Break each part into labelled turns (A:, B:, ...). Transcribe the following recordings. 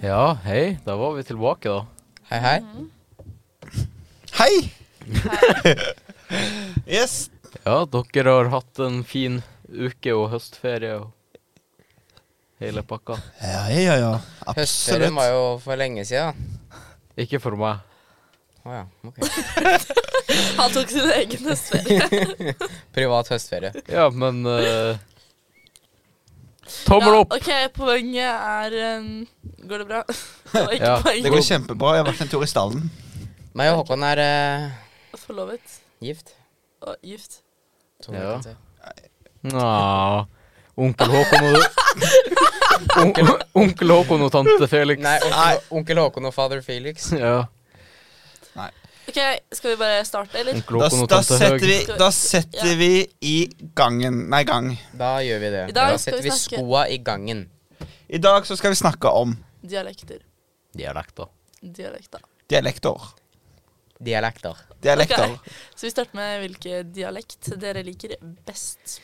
A: Ja, hei. Da var vi tilbake, da.
B: Hei, hei.
C: Mhm.
D: Hei! yes.
A: Ja, dere har hatt en fin uke og høstferie og hele pakka.
D: Ja, ja, ja.
B: Høstferien var
D: Absolutt.
B: jo for lenge siden.
A: Ikke for meg.
B: Å ja. ok.
C: Han tok sin egen høstferie.
B: Privat høstferie.
A: Ja, men eh, Tommel opp!
C: Ja, ok, poenget er em, Går det bra? Det var ikke
A: Ja,
D: Det
C: poenget.
D: går kjempebra. Jeg har vært en tur i stallen.
B: Meg og Håkon er eh,
C: Forlovet
B: gift.
C: og gift.
B: To
A: Ja.
B: kan si.
A: Nja Onkel Håkon og onkel, onkel Håkon og tante Felix.
B: Nei, onkel, onkel Håkon og fader Felix.
A: Ja.
C: Ok, skal vi bare starte, eller?
A: Onkel
D: Da,
A: Håkon og
D: da,
A: tante
D: setter
A: Høg.
D: vi, da setter vi i gangen. Nei, gang.
B: Da gjør vi det.
C: I dag
B: Da
C: skal
B: setter
C: vi
B: vi
C: snakke-
B: skoa i gangen.
D: I dag så skal vi snakke om
C: Dialekter.
A: Dialekter.
C: Dialekter.
D: dialekter.
B: Dialekter.
D: Dialekter.
C: Ok, Så vi starter med hvilken dialekt dere liker best.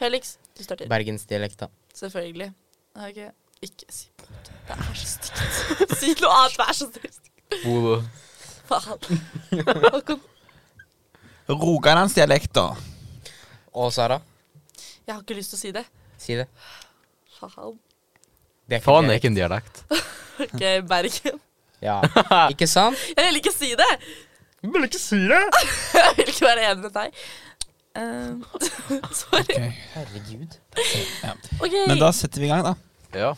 C: Felix, du starter.
B: Bergensdialekta.
C: Selvfølgelig. Ok, ikke si Det er så stygt. Si noe annet, vær så snill.
A: Bodø.
C: Faen. Håkon.
D: Rogalandsdialekter.
B: Og Sara,
C: Jeg har ikke lyst til å si det.
B: si det.
C: Faen.
B: det er
A: Faen er
B: dialekt.
A: ikke en dialekt.
C: Ok, Bergen.
B: Ja. Ikke sant?
C: Jeg vil ikke si det!
A: Vil ikke si det!
C: Jeg vil ikke være enig med deg. Ehm, sorry.
D: Ok.
B: Herregud.
C: Ok,
D: Men da setter vi i gang, da.
A: Ja.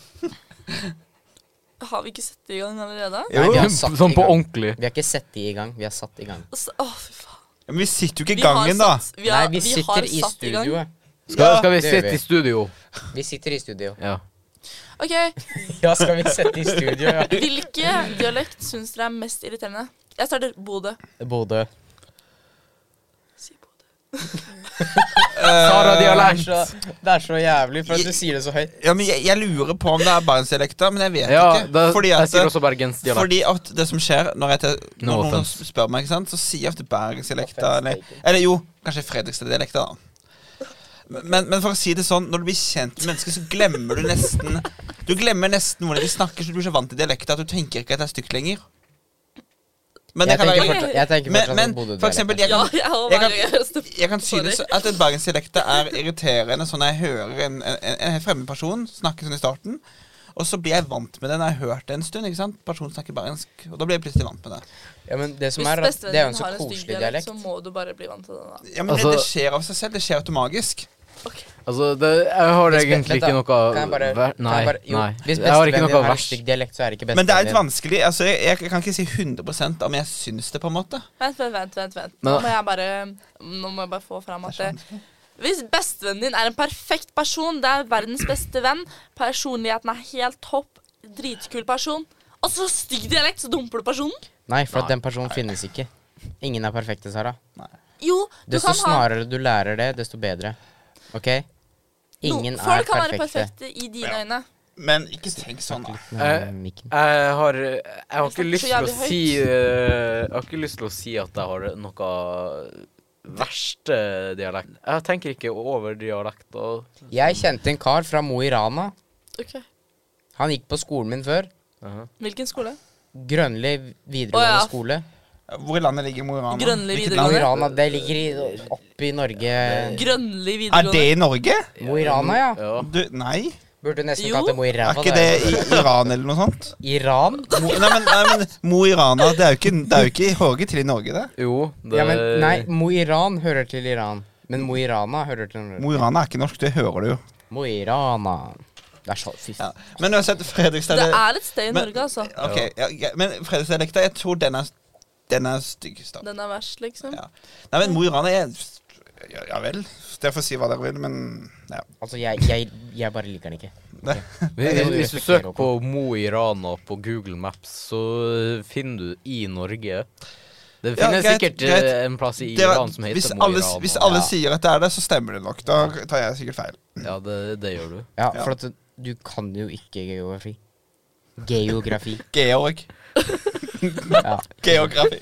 C: har vi ikke sett det i gang allerede?
B: Nei, vi har satt
A: Sånn
B: i
A: på
B: gang.
A: ordentlig.
B: Vi har ikke sett de i gang. Vi har satt i gang.
C: Altså, Å, fy faen.
D: Men vi sitter jo ikke
C: Vi
D: i
C: har
D: gangen, da.
C: satt- vi har-
B: Nei, vi
C: har
B: sitter i
C: satt gang.
B: studioet.
A: Skal,
D: Ja,
A: skal vi
B: det gjør
A: sitte
B: vi.
A: i studio?
B: Vi sitter i studio.
A: Ja.
C: Ok,
B: Ja, skal vi sette i studio? Ja.
C: Hvilke dialekt syns dere er mest irriterende? Jeg starter Bodø.
B: Bodø.
C: Si Bodø.
A: Sara-dialekt.
B: Det er så- Det er så jævlig, for at du sier det så høyt.
D: Eh, Ja, men jeg, jeg lurer på om det er bergensdialekter, men jeg vet
A: Ja,
D: ikke.
A: da,
D: fordi
A: jeg
D: at,
A: sier også bergensdialekt.
D: fordi at det som skjer når, jeg til,
A: No
D: når noen
A: offense.
D: spør meg, ikke sant, så sier jeg ofte bergensdialekter.
B: Offense
D: Eller,
B: taken.
D: eller jo, kanskje Fredrikstad-dialekter, da. Men, men for å si det sånn, når du blir kjent med mennesker, så glemmer du nesten Du glemmer nesten hvordan de snakker, så du blir så vant til dialekter at du tenker ikke at det er stygt lenger. Men
B: Jeg
D: det kan
B: tenker
D: være
C: jeg-
B: fortsatt, jeg tenker
D: Men,
B: fortsatt
D: men
B: Bodø-dialekt.
D: for eksempel, jeg
C: Ja,
D: kan,
C: jeg har
D: jeg kan-
C: hver gang jeg hører det.
D: jeg kan synes at en bergensdialekt er irriterende sånn når jeg hører en, en, en fremmed person snakke sånn i starten. Og så blir jeg vant med det når jeg har hørt det en stund. ikke sant? Personen snakker bergensk, og da blir jeg plutselig vant med det.
B: Ja, men det som
C: Hvis
B: er, at det er jo en
C: bestevennen
B: så
C: har en stygg
B: koselig
C: dialekt,
B: dialekt.
C: så må du bare bli vant til den. da.
D: Ja, men
A: Altså-
D: det, det skjer av seg selv. Det skjer automagisk.
C: Ok,
A: Altså, det, jeg har
B: Hvis
A: egentlig
B: bestevennen-
A: ikke noe
B: Kan jeg bare-
A: ver-
B: kan
A: Nei.
B: jeg bare- jo,
A: nei.
B: Hvis
A: Jeg har ikke
B: bestevennen
A: noe
B: har en
A: verst.
B: stygg dialekt, så er det ikke
D: Men det er litt
B: bestevennen.
D: vanskelig. altså Jeg, jeg kan ikke si 100 om jeg syns det, på en måte.
C: Vent, vent, vent. vent, vent.
A: Men-
C: Nå, må jeg bare, nå må jeg bare få fram at det, Hvis bestevennen din er en perfekt person, det er verdens beste venn, personligheten er helt topp, dritkul person, og så stygg dialekt, så dumper du personen?
B: Nei, for at den personen finnes ikke. Ingen er perfekte, Sara.
C: Jo, du
B: Desto
C: kan ha
B: snarere du lærer det, desto bedre. OK?
C: no,
B: Ingen er
C: Folk kan være
B: perfekte.
C: perfekte i dine øyne.
D: Men ikke tenk sånn. da.
B: Nei, mikken.
A: Jeg har, jeg har ikke
C: snakker
A: lyst
C: så
A: til å
C: jævlig høyt.
A: si eh, Jeg har ikke lyst til å si at jeg har noe verste dialekt. Jeg tenker ikke over dialekt. Og,
B: Jeg kjente en kar fra Mo i Rana.
C: Ok,
B: Han gikk på skolen min før.
C: Hvilken skole?
B: Grønli
C: Å,
B: videregående
C: ja.
B: skole.
D: Hvor i landet ligger Mo i Rana?
C: Grønli
D: Hvilket
B: Mo i
C: videregående.
D: land?
B: Rana, det ligger i, oppe i Norge.
C: Grønli
D: Er det
C: videregående.
D: i Norge?
B: Mo i Rana, ja.
A: ja.
D: Du, nei.
B: Burde nesten
C: Jo.
B: kalt det Mo i
D: Er
B: ræva.
D: ikke
B: da.
D: det i Iran eller noe sånt?
B: Iran?
D: Mo, nei, men, nei, men Mo i Rana, det er jo ikke, det er jo ikke håret til i Norge, det.
A: Jo, det
B: Ja, men nei, Mo i Ran hører til Iran. Men Mo i Rana hører til Norge.
D: Mo i Rana er ikke norsk, det hører du jo.
B: Mo i Rana. Det er så fy
D: Ja.
B: faen.
D: Men uansett, Fredrikstad
C: Det er et sted i
D: Men-
C: Norge, altså.
D: Ok, ja, ja, Men Fredrikstad-dialekta, jeg tror den er, den er styggest. da.
C: Den er verst, liksom.
D: Ja. Nei, men Mo i Rana er ja, ja vel. Dere får si hva dere vil, men ja.
B: Altså, jeg, jeg, jeg bare liker den ikke.
A: Hvis, hvis du søker på Mo i Rana på Google Maps, så eh, finner du i Norge. Det
D: Ja,
A: finnes
D: greit,
A: sikkert
D: greit.
A: eh, en plass i
D: Det var-
A: Iran som
D: hvis,
A: heter Mo i
D: alle,
A: Rana.
D: hvis alle
B: Ja.
D: sier at det er det, så stemmer det nok. Da tar jeg sikkert feil.
A: Ja, det, det gjør du.
B: Ja,
D: Ja.
B: For at du kan jo ikke geografi. Geografi.
D: Georg.
B: Ja.
D: Geografi.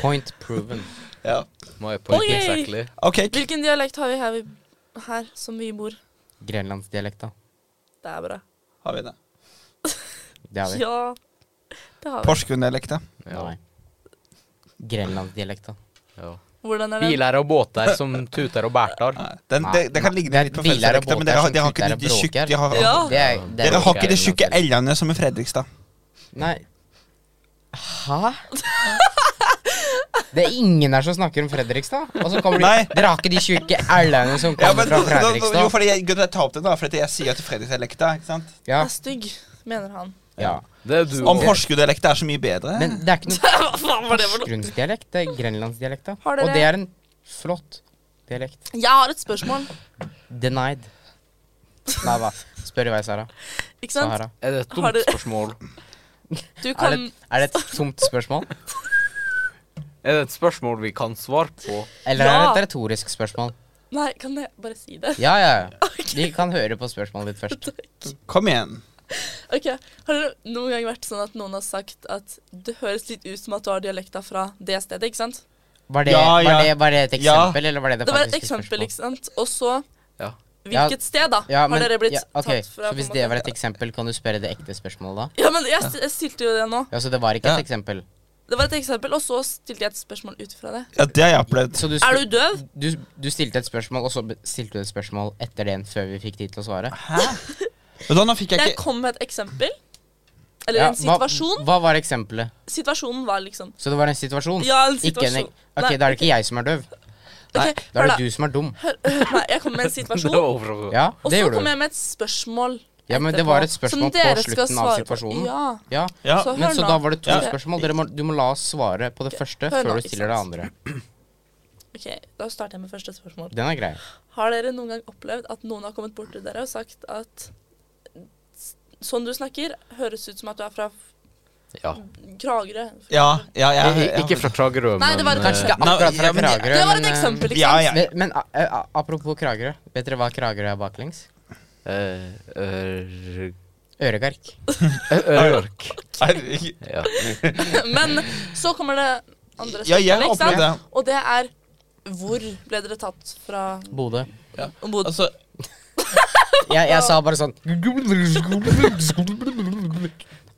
B: Point proven.
D: Ja.
A: My point
C: Ok.
A: exactly.
D: OK.
C: Hvilken dialekt har vi her, vi her som vi bor?
B: Grenlandsdialekta.
C: Det er bra.
D: Har vi det?
B: Det har vi.
C: Ja, det har vi.
D: Porsgrunn-dialekta.
A: Ja.
B: Nei. Grenlandsdialekta.
A: Ja.
C: Hvordan er den?
A: Biler og båter som tuter og bærtar.
D: Nei, Den, det, det kan
B: Det
D: ligne
B: er
D: litt på
B: biler og
D: Fredrikstad, men
B: båter
D: dere har,
B: som
D: dere har ikke
B: kutter
D: de, de,
B: og
D: tjukke-
B: bråker.
D: de har,
C: Ja.
B: Det er, det er
D: Dere har ikke de
B: grenlandsdialekt.
D: tjukke elgene som i Fredrikstad.
B: Nei. Hæ? Det er ingen her som snakker om Fredrikstad. Og så kommer de
D: Nei.
B: Dere har ikke de tjukke ælene som
D: Ja,
B: kommer
D: men,
B: fra
D: jo,
B: Fredrikstad.
D: fordi jeg, grunnen til at jeg tar opp det, da, fordi jeg sier at Fredrikstad-dialekta. ikke sant?
B: Ja, Mm.
C: Er stygg, mener han.
B: ja.
A: Det er du
D: Om
A: også.
D: Porsgrunn-dialekta er så mye bedre.
B: Men det er ikke noe
C: Hva faen var det for noe?
B: porsgrunnsdialekt. Det er grenlandsdialekta.
C: Har dere-
B: Og det er en flott dialekt.
C: Jeg har et spørsmål,
B: Denied. Nei, hva? Spør i vei, Sara.
C: ikke sant?
B: Sahara.
A: Er det et
C: Har
A: dumt
C: du-
A: spørsmål?
C: Du
B: Er
C: kan
B: det, er det et tomt spørsmål?
A: Er det et spørsmål vi kan svare på?
B: Eller er det
C: Ja.
B: et retorisk spørsmål?
C: Nei, kan jeg bare si det?
B: Ja, ja. ja. De kan høre på spørsmålet ditt først.
D: Kom igjen.
C: Ok, Har det noen gang vært sånn at noen har sagt at det høres litt ut som at du har dialekta fra det stedet, ikke sant?
B: Var det,
D: Ja, ja.
B: var det, var det et
D: Ja.
B: eksempel, eller var det det
C: Det var et
B: faktiske
C: eksempel,
B: spørsmålet?
C: ikke sant? Og så
A: Ja.
C: Hvilket sted, da?
B: Ja, men,
C: har dere blitt
B: ja, ok,
C: tatt fra?
B: Så hvis
C: på en
B: det
C: måte?
B: var et eksempel, kan du spørre det ekte spørsmålet da?
C: Ja, men jeg, st- jeg stilte jo det nå.
B: Ja, så det var ikke
D: Ja.
B: et eksempel.
C: Det var et eksempel, og så stilte jeg et spørsmål ut fra det.
D: Ja, Det har jeg opplevd.
B: Så du,
C: Er
B: spør-
C: du døv?
B: du, du stilte et spørsmål, og så be- stilte du et spørsmål etter det før vi fikk tid til å svare.
D: Hæ? Men da, nå fikk jeg
C: Jeg
D: ikke
C: kom med et eksempel. Eller
B: Ja,
C: en situasjon.
B: Hva, hva var eksempelet?
C: Situasjonen var liksom
B: Så det var en situasjon?
C: Ja, en
B: Ikke en,
C: situasjon.
B: ok,
C: Nei,
B: da er det ikke jeg som er døv.
C: Ok,
B: Da
C: hør
B: er
C: da.
B: det du som er dum.
C: Hør, hør, nei, jeg kom med en
A: Det
C: situasjon,
A: var overraskende.
B: Ja,
C: og
B: det
C: så
B: gjorde
C: kom
B: du.
C: jeg med et spørsmål.
B: Ja, men det
C: etterpå,
B: var et
C: som
B: spørsmål på
C: dere skal
B: slutten av
C: svare på.
B: situasjonen.
C: Ja.
B: Ja.
D: ja.
C: Så
B: Men
C: hør
B: så
C: nå.
B: da var det to
D: Ja.
B: spørsmål. Dere må, du må la oss svare på det første
C: Hør nå,
B: før
C: ikke
B: du stiller det
C: sant?
B: andre.
C: Ok, Da starter jeg med første spørsmål.
B: Den er grei.
C: Har dere noen gang opplevd at noen har kommet bort til dere og sagt at s- sånn du snakker, høres ut som at du er fra
A: Ja.
C: Kragerø?
D: Ja, ja, jeg,
B: Eh,
A: I- i- Ikke fra Kragerø, men
C: Nei, det var et
A: eh,
B: Kanskje ikke
D: Nei,
B: akkurat
D: ja,
B: fra
D: men det-
B: Kragerø,
C: Det var et
B: men, eh,
C: eksempel, ikke
D: Ja,
C: sant?
D: ja.
B: Men, men a, a, apropos Kragerø. Vet dere hva Kragerø er baklengs?
A: eh, Ør-
B: Øregark.
A: Ør- Ørk.
D: Nei,
A: Ja.
C: Men så kommer det andre
D: Ja, jeg har
C: spørsmål, ikke sant?
D: opplevd det.
C: Og det er hvor ble dere tatt fra
B: Bodø.
C: ombord?
D: Altså,
B: Jeg, jeg sa bare sånn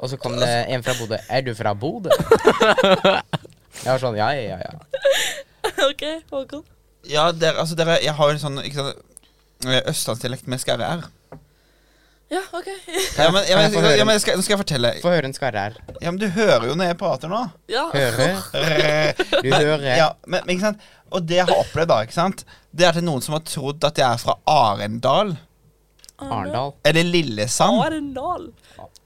B: Og så kom det en fra Bodø. Er du fra Bodø? Jeg var sånn ja, ja, ja. ja.
D: Altså-
C: OK, Håkon.
D: ja, dere, altså, dere Jeg har jo en sånn ikke sant, eh, østlandsdialekt med skarre-r.
C: Ja, OK.
D: Ja, men, ja,
B: Kan jeg få
D: men, ja,
B: høre?
D: men jeg skal, nå skal jeg fortelle.
B: Få høre en skarre her.
D: Ja, men Du hører jo når jeg prater nå.
C: Ja.
D: Eh,
B: Høre. Du hører.
D: Ja, men, men ikke sant? Og det jeg har opplevd, da, ikke sant? det er at det er noen som har trodd at jeg er fra Arendal
B: Arendal.
D: eller Lillesand.
C: Arendal.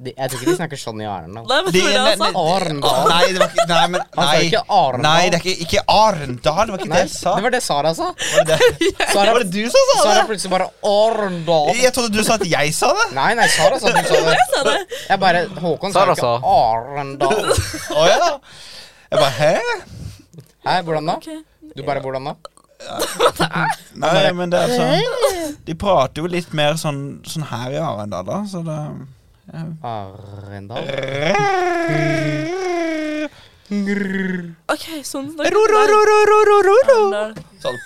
B: De, jeg tror ikke de snakker sånn i Arendal.
C: Nei, vet du hva det er,
D: nei,
C: altså?
B: Arendal.
D: Nei, det var ikke Nei, men,
B: Han sa
D: nei.
B: ikke Arendal.
D: nei det er ikke, ikke Arendal. Det var ikke
B: Nei,
D: det jeg sa.
B: det var det Sara sa.
D: Var det, det?
B: Sara,
D: var det du som sa
B: Sara
D: det?
B: plutselig bare Arendal.
D: Jeg trodde du sa at jeg sa det.
B: Nei, nei, Sara sa at du sa det.
C: Jeg sa det.
B: Jeg bare Håkon sa
A: Sara
B: ikke
A: sa.
B: Arendal.
D: Å ja. Jeg bare Hæ?
B: Hæ, hvordan da?
C: OK.
B: Du bare hvordan da?
D: Nei, men det er sånn De prater jo litt mer sånn, sånn her i Arendal, da, så det
B: Arendal.
C: OK, sånn snakker
D: Ro, ro, ro, ro, ro, ro, ro, ro.
C: Arendal.
D: Sånn.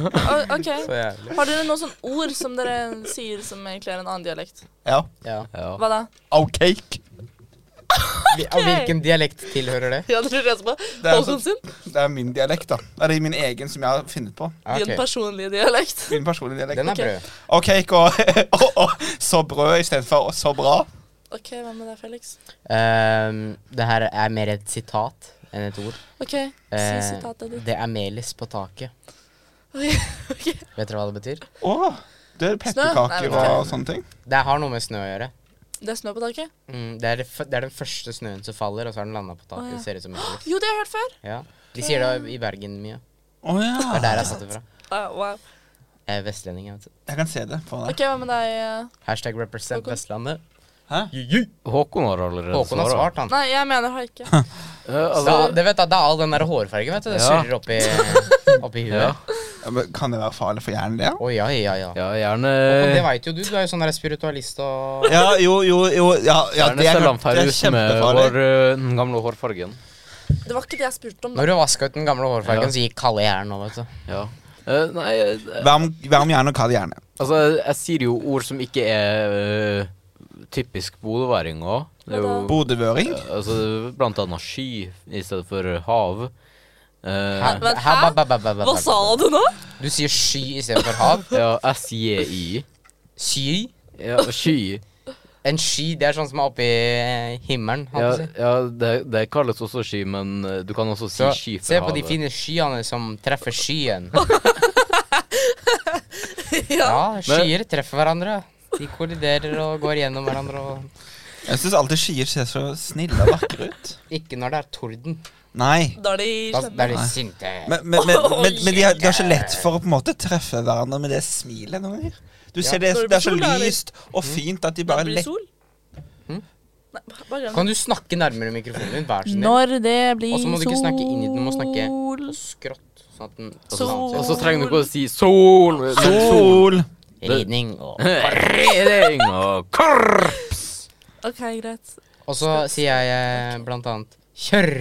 C: O- OK.
B: Så jævlig.
C: Har dere noen sånne ord som dere sier som egentlig er en annen dialekt?
D: Ja.
B: Ja.
A: Ja.
C: Hva da?
D: Outcake.
B: Hvil- Og hvilken dialekt tilhører det?
C: Ja, dere leser på
D: Det er
C: Håkon
D: sånn-
C: sin?
D: Det er min dialekt, da. Eller min egen, som jeg har funnet på.
B: Ja, Ah,
C: Din
B: ok.
C: personlige dialekt.
D: Min personlige
B: Den
D: dialekt.
B: er brød.
D: Og cake og, og, og så brød istedenfor så bra.
C: OK, hva med deg, Felix?
B: Ehm, det her er mer et sitat enn et ord.
C: OK, si
B: Eh,
C: sitatet ditt.
B: det er melis på taket.
C: Ok.
B: Vet dere hva det betyr?
D: Å, det er
C: Snø? Nei,
D: pepperkaker
C: men-
D: og sånne ting.
B: Det har noe med snø å gjøre.
C: Det er snø på taket?
B: Mm, det, er, det f- det er den første snøen som faller, og så har den landa på
C: Å,
B: taket.
C: ja.
B: Det ser ut som melis.
C: Jo, det har jeg hørt før.
B: Ja. De sier det i Bergen mye.
D: Å
B: Det er
D: ja.
B: der jeg har tatt det fra.
C: Ah, wow.
B: Jeg er vestlending, jeg, vet du.
D: Jeg kan se det for deg.
C: OK, hva med deg? eh?
B: Hashtag represent
C: Håkon.
B: Vestlandet.
D: Hæ?
A: Håkon har allerede
B: Håkon har
A: svaret.
B: svart, han.
C: Nei, jeg mener har ikke.
A: Ja,
B: Da,
A: altså,
B: det, vet du, det er all den der hårfargen, vet du. Det
A: Ja.
B: surrer oppi, oppi huet.
A: ja.
D: Ja, men Kan det være farlig for hjernen, det?
B: Å ja, ja, ja.
A: ja, Eh. gjerne
B: Og det veit jo du, du er jo sånn der spiritualist og
D: Ja, jo, jo, jo Ja, ja
A: Gjerne Stellanferus med vår, eh, den gamle hårfargen.
C: Det var ikke det jeg spurte om. da.
B: Når du vaska ut den gamle hårfargen,
A: Ja.
B: så gikk kalde hjernen nå, vet du.
A: Ja. Eh, nei, eh,
D: Varm, varm hjerne og kald hjerne.
A: altså, jeg sier jo ord som ikke er eh, typisk bodøværing òg. Det er jo
D: Bodøvøring?
A: altså, blant annet sky i stedet for hav. Eh,
B: Hæ?
C: Men
B: Hæ?
C: hæ?
B: Ba, ba, ba, ba,
C: Hva
B: ba.
C: sa du nå?
B: Du sier sky istedenfor hav.
A: ja, SJI.
B: Sky?
A: Ja, sky.
B: En sky, det er sånn som er oppi himmelen.
A: Ja,
B: holdt jeg på å si.
A: ja det, det kalles også sky, men eh, du kan også si
B: Så
A: sky for
B: se på
A: havet.
B: de fine skyene som treffer skyen.
C: Ja.
B: Ja, skyer treffer hverandre. De kolliderer og går gjennom hverandre. og
D: Jeg syns alltid skyer ser så snille og vakre ut.
B: Ikke når det er torden.
D: Nei.
C: Da er de
B: Da, da er
C: slemme.
B: de sinte.
D: Men, men, men, men, men de, har, de har ikke lett for å på en måte treffe hverandre med det smilet noen ganger. Du ser det,
C: Når det
D: det er så
C: blir sol, da er det-
D: lyst og fint at de
C: Da
D: bare
C: blir det
D: lekker
C: sol.
B: Hm?
C: Nei, bare- bare glem det.
B: Kan du snakke nærmere mikrofonen din? Vær så snill.
C: Når det blir
B: Og så
C: sol
B: må du ikke snakke inn i den, du må snakke Skrått. Sånn at den
C: Sol.
A: Og så trenger du ikke å si sol. men
D: Sol!
B: Ridning og
A: Reding og korr.
C: OK, greit.
B: Og så sier jeg eh, blant annet kjørr.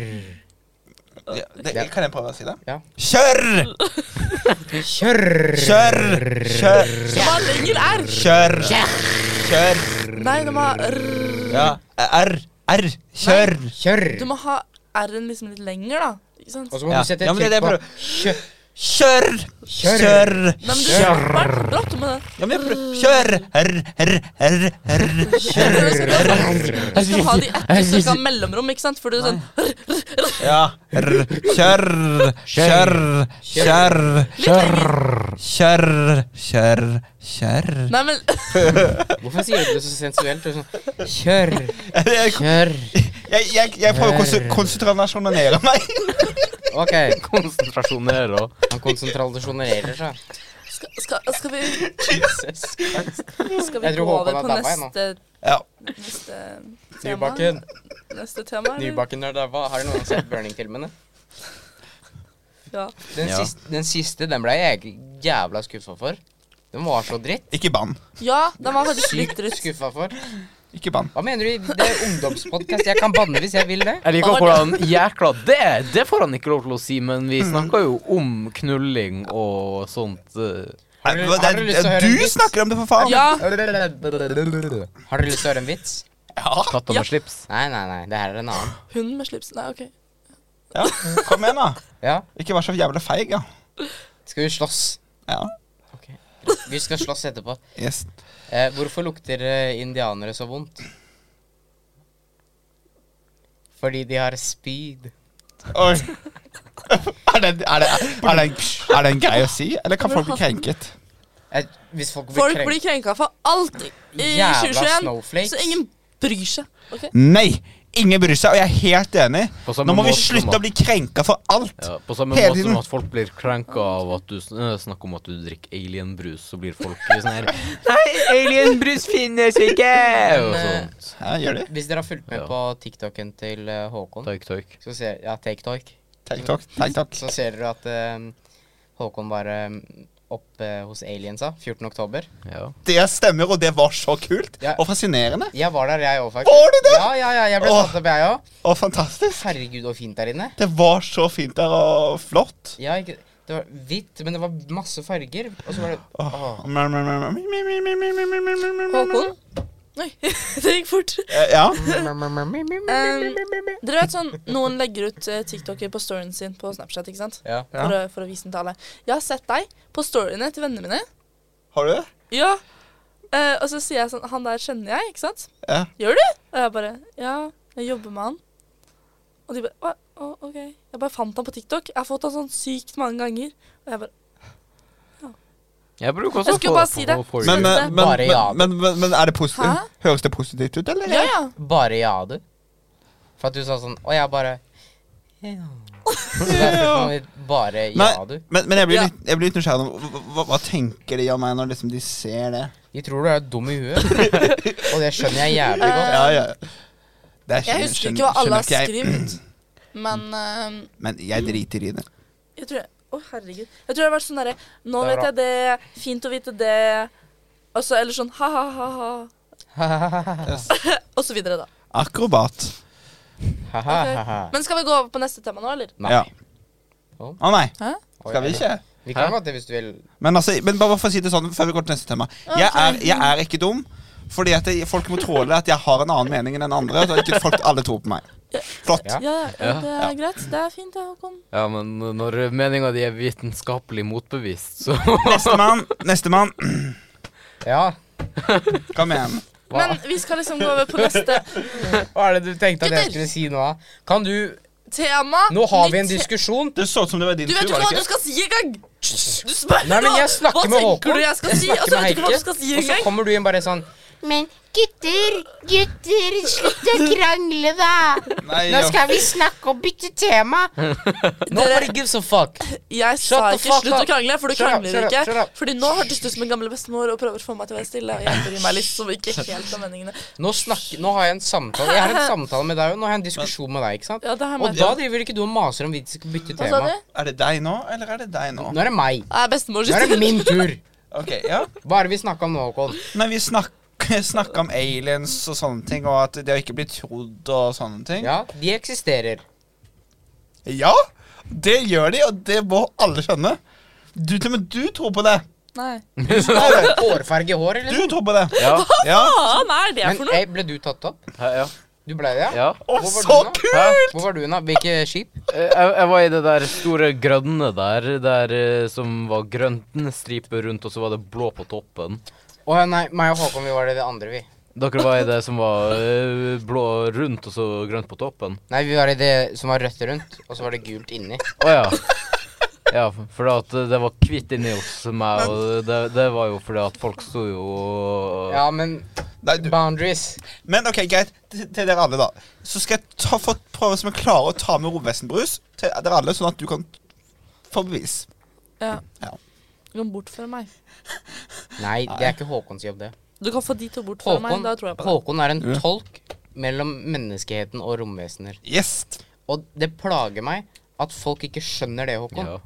D: Ja, det, kan jeg prøve å si det?
B: Ja.
D: Kjør!
B: Kjørr.
D: Kjør! Kjør!
C: Det var lenger R.
D: Kjør! Kjør!
C: Nei, du må ha R.
D: Ja. R. R. Kjør!
B: Kjørr.
C: Du må ha R-en liksom litt lenger, da. Ikke sant?
B: Og så må
D: Ja.
B: du sette
D: Ja, men det
B: trykk
D: er det
B: på
D: jeg
B: kjø...
D: Kjør!
B: Kjør.
D: Kjør!
C: Nei, men du Kjør. Brått med det.
D: Ja, men jeg prøver. Kjør! R. R. R. R.
C: Kjør. Du skal- du skal ha de etterstykka mellomrom, ikke sant? For du er sånn
D: Ja. R. Kjør! Kjør! Kjør! Kjør! Kjør! Kjør! Kjør!
C: Nei, men
B: Hvorfor sier du det så sensuelt? Du er sånn Kjørr.
D: Jeg,
B: Kjørr.
D: jeg, jeg, jeg prøver å konse- konsentrasjonere meg.
B: OK.
A: Konsentrasjoner og
B: Han konsentrasjonerer seg.
C: skal, skal, skal vi,
B: Jesus Christ.
C: skal vi
B: Jeg tror
C: gå over
B: Håkon har
C: på
B: dabba igjen nå.
C: neste,
D: Ja.
C: neste tema?
B: Nybakken.
C: Neste tema, eller?
B: Nybakken er daua. Har du noen sett Burning-filmene?
C: Ja.
B: Den,
A: Ja.
B: siste, den siste den ble jeg jævla skuffa for. Den var så dritt.
D: Ikke bann.
C: ja, den var faktisk litt
B: Sykt
C: dritt.
B: skuffa for.
D: Ikke bann.
B: Hva mener du? Det er ungdomspodkast. Jeg kan banne hvis jeg vil det.
A: Jeg liker hvordan jækla det Det får han ikke lov til å si, men
D: Mm.
A: vi snakka jo om knulling og sånt. eh.
B: Har du, har du lyst til å høre en
D: Du
B: vits?
D: snakker om det, for faen.
C: Ja,
B: Har du lyst til å høre en vits?
D: Ja.
A: Katta
C: Ja.
A: med slips.
B: Nei, nei, nei. Det her er en annen.
C: hun med slips. Nei, OK.
D: Ja, kom igjen, da.
B: Ja.
D: Ikke vær så jævla feig, ja.
B: Skal vi slåss?
D: ja.
B: Vi skal slåss etterpå.
D: Yes.
B: Eh, hvorfor lukter eh, indianere så vondt? Fordi de har spyd.
D: Oi. Er det, er, det, er, det en, er det en greie å si, eller kan folk bli krenket?
B: Eh, hvis folk blir
C: Folk
B: krenkt
C: blir krenka for alt i
B: Jævla
C: 2021,
B: snowflakes.
C: så ingen bryr seg. ok?
D: Nei! Ingen bryr seg, og jeg er helt enig.
A: På samme
D: Nå må vi
A: måte som
D: slutte
A: at-
D: å bli krenka for alt.
A: Ja, på samme
D: Hele
A: måte
D: tiden.
A: som at folk blir krenka av at du sn- eh, snakker om at du drikker alienbrus, så blir folk sånn her Nei, alienbrus finnes ikke! Og
B: Men,
A: sånt.
D: Ja, gjør det.
B: Hvis dere har fulgt med
A: Ja.
B: på TikToken til eh, Håkon,
A: Toik, toik.
B: så ser, ja, TikTok,
D: Takk, takk. takk,
B: så
D: takk.
B: ser dere at eh, Håkon var eh, oppe hos Aliensa 14. oktober.
A: Ja.
D: Det stemmer, og det var så kult.
B: Ja.
D: Og fascinerende.
B: Jeg var der, jeg òg, faktisk.
D: Var du det?
B: Ja, ja, ja, jeg ble
D: Åh.
B: tatt opp, jeg òg.
D: Og fantastisk.
B: Herregud, så fint der inne.
D: Det var så fint der, og flott.
B: Ja, ikke, det var hvitt, men det var masse farger. Og så var det
D: Åh. Håkon?
B: Mm.
C: Håkon? Oi, det gikk fort.
D: Ja.
C: Um, dere vet sånn, Noen legger ut eh, TikToker på storyen sin på Snapchat ikke sant?
B: Ja.
D: Ja.
C: For, å, for å vise den til alle. Jeg har sett deg på storyene til vennene mine.
D: Har du det?
C: Ja. Eh, og så sier jeg sånn Han der kjenner jeg, ikke sant?
D: Ja.
C: Gjør du? Og jeg bare Ja, jeg jobber med han. Og de bare «Hva? Å, OK. Jeg bare fant han på TikTok. Jeg har fått han sånn sykt mange ganger. Og jeg bare
A: Jeg bruker
C: Jeg
A: også
C: skulle
A: få
C: bare
A: det
C: si
A: på-
C: det.
A: på- på-
D: Men, eh,
C: Bare
D: men, men,
B: ja.
D: men, men, men er det positivt?
C: Hæ?
D: Høres det positivt ut, eller?
C: Ja, ja.
B: Bare ja, du. For at du sa sånn Og jeg bare ja. Så derfor
D: Ja.
B: kom vi bare
D: Nei,
B: ja, du.
D: men, men jeg blir
C: Ja.
D: litt, jeg blir litt nysgjerrig om hva, hva, hva tenker de om meg når liksom de ser det?
B: De tror du er dum i huet. og det skjønner jeg jævlig godt.
D: Ja, ja. Det er
C: Eh, Jeg
D: skjønner-
C: husker ikke
D: skjønner-
C: hva alle
D: skjønner
C: har
D: ikke jeg,
C: skrevet, men eh,
D: Men jeg driter i det.
C: Jeg tror jeg, Å, herregud. Jeg tror det har vært sånn derre Nå
B: Det er
C: vet jeg det. Fint å vite det. Og så, eller sånn ha-ha-ha. Og så videre, da.
D: Akrobat.
B: Ha-ha-ha-ha.
C: Men skal vi gå over på neste tema nå, eller?
B: Nei.
D: Ja. Å nei,
C: Hæ?
B: Oi,
D: skal vi ikke?
B: Vi kan
A: Hæ?
B: godt det hvis du vil.
D: Men, altså, men bare for å si det sånn før vi går til neste tema. Jeg er, jeg er ikke dum, Fordi at jeg, folk må tåle at jeg har en annen mening enn den andre. Så ikke folk alle tror på meg. Flott.
B: Ja.
C: Ja, ja,
A: Ja.
C: det er greit. Det er fint, det, Håkon.
A: Ja, men når meninga di er vitenskapelig motbevist, så
D: Nestemann. Nestemann.
B: Ja.
D: Kom igjen.
B: Hva?
C: Men vi skal liksom gå over på neste
B: Hva er det du tenkte at jeg
C: Gutter!
B: skulle si nå? da? Kan du
C: tema.
B: Nå har vi en
C: Nytt te-
B: diskususjon.
D: Det så ut som det var din
C: Du
D: tur.
C: vet jo
D: var
C: hva
D: det
C: du
D: ikke?
C: skal si engang! Du spør
B: Nei, men jeg snakker med
C: Hva tenker
B: Håkon.
C: du jeg skal si? Og
B: snakker
C: så vet du ikke hva du skal si
B: og så
C: engang.
B: kommer du inn bare sånn
E: Men gutter, gutter, slutt å krangle, da!
D: Nei,
B: Nå
D: ja.
B: skal vi snakke og bytte tema. Nobody gives a fuck.
C: Jeg sa
B: Shut the
C: ikke
B: fuck
C: slutt å
B: up.
C: krangle, for du
B: Shut up,
C: krangler
B: shut up, shut
C: ikke.
B: up.
C: Fordi nå hørtes du ut som en gammel bestemor og prøver å få meg til å være stille. Og jeg bryr meg litt, som ikke helt om meningene.
B: Nå, snakker, nå har jeg en samtale Jeg har en samtale med deg, og nå har jeg en diskusjon med deg. ikke sant?
C: Ja, det har
B: Og
C: jeg
B: da
C: ment.
B: driver ikke du og maser om vi skal bytte
C: Hva sa
B: tema.
C: du?
D: Er det deg nå, eller er det deg nå?
B: Nå er det meg.
C: Nei, bestemor
B: Nå er det
C: sitter
B: min tur.
D: Ok, ja.
B: Hva er det vi snakka om nå, Håkon?
D: Nei, vi snak snakka om aliens og sånne ting, og at det å ikke bli trodd og sånne ting.
B: Ja, de eksisterer.
D: Ja, det gjør de, og det må alle skjønne. Du, til og med du tror på det.
C: Nei.
D: Nei, vel,
B: Hårfarge i hår,
D: Du
B: eller?
D: tror på det.
A: Ja.
D: Ja.
C: Faen er det
B: Men
C: for noe?
B: eh, ble du tatt opp?
A: Hæ, ja.
B: Du ble det?
A: ja.
D: Å,
B: Hvor var
D: så
B: du nå?
D: kult!
B: Hvor var du nå? Hvilket skip?
A: Eh, Jeg, jeg var i det der store grønne der, der eh, som var grønn stripe rundt, og så var det blå på toppen.
B: Å nei, meg og Håkon vi var det, det andre, vi.
A: Dere var i det som var eh, blå rundt, og så grønt på toppen.
B: Nei, vi var i det som var rødt rundt, og så var det gult inni.
A: Å ja. Ja, for det at det var hvitt inni hos meg, og det, det var jo fordi at folk sto jo og
B: Ja, men
D: Nei, du.
B: boundaries.
D: Men ok, greit, til til dere alle, da. Så skal jeg ta, få prøve som jeg klarer å ta med romvesenbrus til dere alle, sånn at du kan få bevis.
C: Ja.
D: Ja.
C: Du kan bort fra meg.
B: Nei, det er ikke Håkons jobb, det.
C: Du kan få de to bort fra meg.
B: Håkon,
C: Da tror jeg på det.
B: Håkon er en
D: Ja.
B: tolk mellom menneskeheten og romvesener.
D: Yes.
B: Og det plager meg at folk ikke skjønner det, Håkon.
A: ja.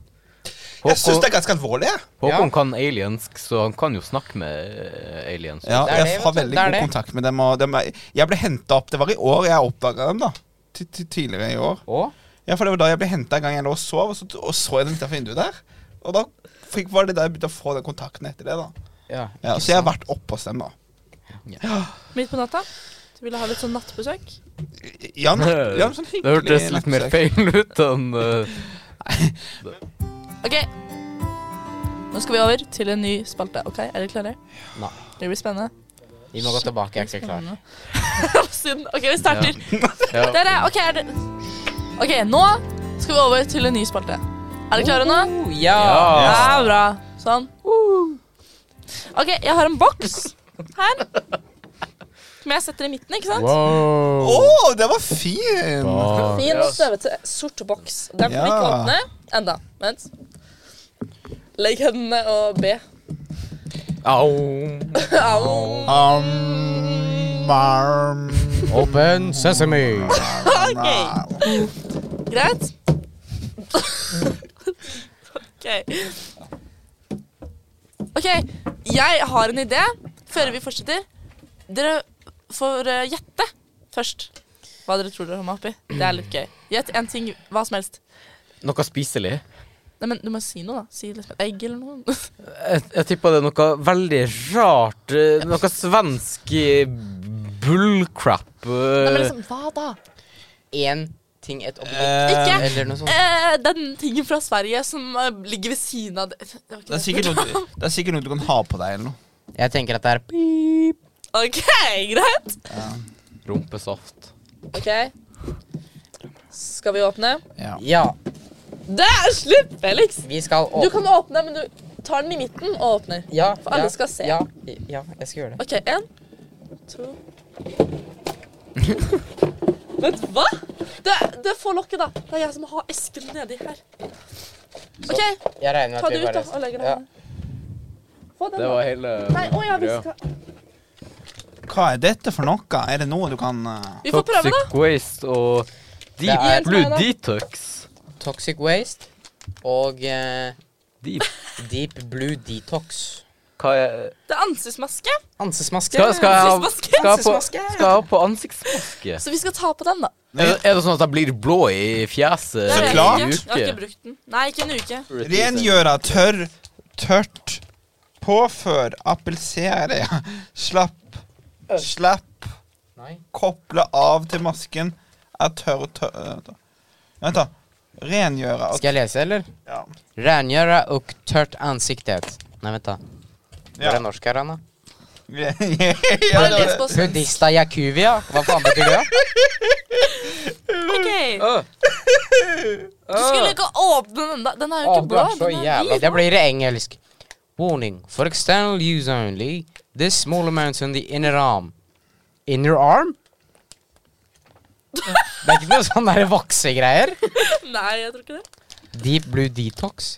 D: Jeg syns
A: Håkon,
D: det er ganske alvorlig. jeg.
A: Håkon
B: Ja.
A: kan aliensk, så han kan jo snakke med eh, aliens.
D: Ja,
B: Det er
D: jeg
B: det,
D: har
B: vet du.
D: veldig
B: Det er
D: god
B: det.
D: kontakt med dem. Og dem er, jeg ble henta opp Det var i år jeg oppdaga dem, da. Til, til tidligere i år.
B: Og
D: Ja, for det var da jeg ble henta en gang jeg lå og sov, og så, og så jeg dem utenfor vinduet der. Og da fikk, var det da jeg begynte å få den kontakten etter det, da.
B: ja,
D: Ja, så jeg har vært oppe hos dem, da.
C: Midt på natta. Du ville ha litt sånn nattbesøk?
D: Ja, men, ja, men sånn
A: Det hørtes litt mer
D: nattbesøk.
A: feil ut enn eh,
C: OK. Nå skal vi over til en ny spalte. OK, er dere klare?
B: Nei.
C: Det blir spennende.
B: vi må gå tilbake. Jeg er ikke klar.
C: Synd. OK, vi starter.
A: ja.
C: Dere, OK, er det OK, nå skal vi over til en ny spalte. Er dere klare nå?
B: Oh, ja.
A: Ja.
C: Ja, bra. Sånn. OK, jeg har en boks her. Som jeg setter i midten, ikke sant?
D: Å,
B: Wow.
D: det var fin!
C: Fin og støvete sort boks. Den får vi ikke
D: Ja.
C: åpne enda. Vent. Legg hendene og be.
A: Au.
C: Au.
D: Um, barm,
B: Open sesame.
C: OK, greit. OK. OK, jeg har en idé før vi fortsetter. Dere får eh, gjette først hva dere tror dere har med oppi. Det er litt gøy. Gjett én ting, hva som helst.
A: Noe spiselig.
C: Nei, men Du må si noe, da. Si liksom et egg eller noe.
A: Jeg, jeg tippa det er noe veldig rart. eh, Noe svensk eh, bullcrap.
C: Nei, men
A: eh,
C: liksom, hva da?
B: Én ting, et objekt
D: Eh,
C: Ikke
B: eller noe sånt.
C: eh, den tingen fra Sverige som eh, ligger ved siden av det. Det var ikke
D: det, er sikkert noe, du- det er sikkert noe du kan ha på deg, eller noe.
B: Jeg tenker at det er pip.
C: OK, greit.
A: Rumpesaft.
C: OK. Skal vi åpne?
D: Ja.
B: Ja,
C: Der! Slipp, Felix!
B: vi skal
C: Du
B: åpne.
C: kan åpne, men du tar den i midten og åpner.
B: Ja,
C: For alle
B: ja,
C: skal se.
B: Ja, ja, jeg skal gjøre det.
C: OK, én, to Vent, hva? Det, det får lokket, da. Det er jeg som har esken nedi her. OK,
B: Jeg regner med
C: ta
B: at
C: det
B: vi
C: ut da,
B: bare
C: og legg den
B: Ja.
C: her. Få den,
A: Det
C: da.
A: var hele
C: Nei, å ja, vi skal
D: Hva er dette for noe? Er det noe du kan eh,
C: Vi får prøve, da.
A: Toxic waste og
B: Det
A: Deep
B: er-
A: Blue
C: Hjelp meg, da.
A: Detox.
B: Toxic waste og eh,
A: Deep.
B: Deep Blue Detox.
A: Hva er
C: Det er ansiktsmaske.
B: Ansiktsmaske.
A: Skal, skal, jeg, ha-
C: Ansiktsmaske.
A: skal, jeg, på,
B: Ansiktsmaske.
A: skal jeg ha på ansiktsmaske?
C: Så vi skal ta på den, da.
A: Er det, er det sånn at jeg blir blå i fjeset?
C: Det er
A: i
C: jeg
D: klart.
C: ikke. Jeg har
A: en
C: ikke brukt den. Nei, ikke en uke.
A: uke?
D: Rengjøre, tørr, tørt, påfør, appelsere, slapp Slapp.
B: Nei.
D: Koble av til masken. Er tørr tørr eh, tørr. Vent, da. Rengjøre og
B: Skal jeg lese, eller?
D: ja.
B: Rengjøre og tørt ansiktet. Nei, vent, da. Hvor
D: Ja.
B: er norsk her, Anna?
D: ja, det var det.
B: Buddhista yakuvia? Hva faen betyr det?
C: OK.
A: Øh.
C: Du skulle ikke åpne den. da. Den er jo ikke blå. Den er hvit.
B: Det blir det engelsk. Warning. For external use only, this small amount on the inner arm. Inner arm? Det er ikke noe sånn der voksegreier.
C: Nei, jeg tror ikke det.
B: Deep blue detox.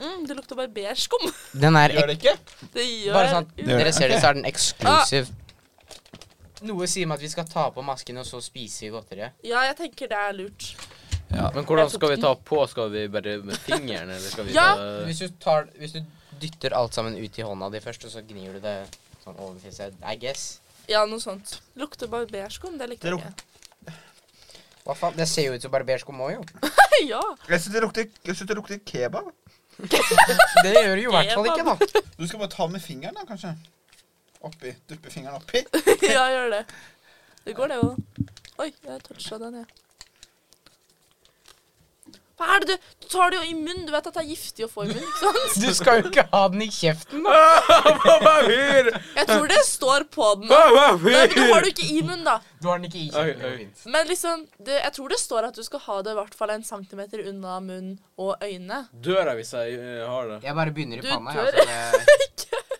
C: Mm, det lukter barberskum.
B: Den er
D: Gjør det ikke?
C: Det gjør
B: Bare sånn,
D: Gjør
B: dere
D: det. Ah.
B: ser det, så er den eksklusiv. Noe sier meg at vi skal ta på masken og så spise godteriet.
C: Ja, jeg tenker det er lurt.
A: Men hvordan skal vi ta på? Skal vi bare med fingeren, eller skal vi
C: Ja.
A: ta
B: Hvis du, tar, hvis du dytter alt sammen ut i hånda di først, og så gnir du det sånn over fjeset, I guess.
C: Ja, noe sånt. Lukter barberskum. Det likte
D: Det
C: jeg
D: luk-
C: ikke.
B: Hva faen, det ser jo ut som barberskum òg, jo.
C: Ja.
D: Jeg syns det lukter, jeg synes det lukter kebab.
B: Det gjør det jo i hvert fall ikke, da.
D: Du skal bare ta med fingeren, da, kanskje. Oppi. Duppe fingeren oppi.
C: ja, gjør det. Det går, det òg. Oi, jeg toucha den, jeg. Hva er det du Du tar det jo i munnen. Du vet at det er giftig å få i munnen. ikke sant?
B: Du skal jo ikke ha den i kjeften.
A: Papir!
C: Jeg tror det står på den. Nei, men du har
A: Papir!
C: det jo ikke i munnen, da.
B: Du har den ikke i
A: kjeften, det går
B: kjeften.
C: Men liksom, det, jeg tror det står at du skal ha det i hvert fall en centimeter unna munn og øynene.
A: Dør jeg hvis jeg eh, har det?
B: Jeg bare begynner i
C: Du
B: panna.
C: dør.
B: Jeg, altså,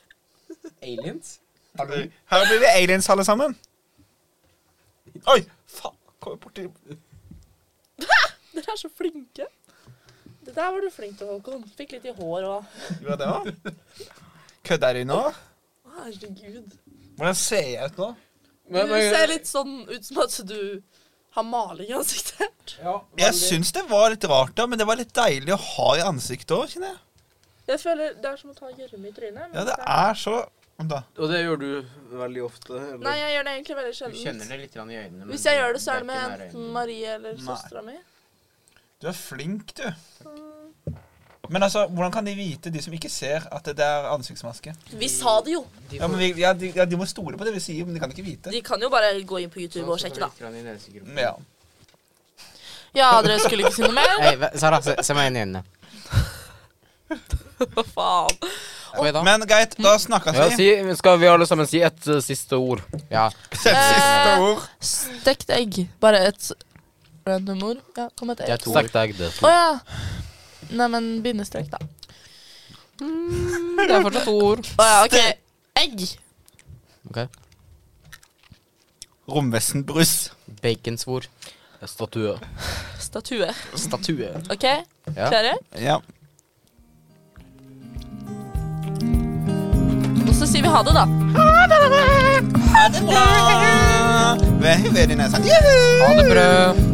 B: det... Aliens? Hallo?
D: Her blir vi aliens, alle sammen. Oi! Faen. Kommer borti
C: Dere er så flinke. Det der var du flink til, Håkon. Fikk litt i hår og
D: Gjorde jeg det òg? Kødder de nå?
C: Herregud.
D: Hvordan ser jeg ut nå?
C: Du ser litt sånn ut som at du har maling i ansiktet.
D: Jeg syns det var litt rart, da, men det var litt deilig å ha i ansiktet òg, kjenner jeg.
C: Jeg føler Det er som å ta gjørme i trynet. men
D: Ja, det
C: det er-
D: er så Vent da.
A: Og det gjør du veldig ofte? Eller?
C: Nei, jeg gjør det egentlig veldig
B: Du kjenner
C: sjelden.
B: det litt grann i øynene. men
C: Hvis jeg gjør det, så er det
B: ikke
C: med
B: nær
C: enten
B: øynene.
C: Marie eller
D: Nei.
C: søstera mi.
D: Du er flink, du. Men altså, hvordan kan de vite, de som ikke ser, at det er ansiktsmaske?
C: Vi sa det jo.
B: De
D: Ja, men vi, ja, de, ja, de må stole på det vi sier, men de kan ikke vite.
C: De kan jo bare gå inn på
B: får-
C: YouTube og sjekke, da.
B: Litt grann i nesegropen.
D: Ja.
C: Ja, dere skulle ikke si noe mer?
B: Hei, hva- Sara, se, se meg inn i øynene.
C: Hva faen?
B: Oi, da.
D: Men greit, da snakkes
A: Ja,
D: vi.
A: si, skal vi alle sammen si et eh, siste ord?
B: Ja.
D: Sett siste
C: Eh,
D: ord.
C: Stekt egg. Bare et random ord. Ja, kom et
B: Det er
C: egg.
B: to
A: Stekt egg, det.
C: Å ja. Nei, men bindestrek, da.
B: Det er fortsatt to ord.
C: Å ja, OK. Egg.
B: Ok.
D: Romvesenbrus.
B: Baconsvor.
A: Statue.
C: Statue.
B: Statue.
C: OK?
B: Ja.
C: Klare?
D: Ja.
C: Og så sier vi ha det, da.
D: Ha det bra. Ved, ved i nesen. Juhu!
B: Ha det brød.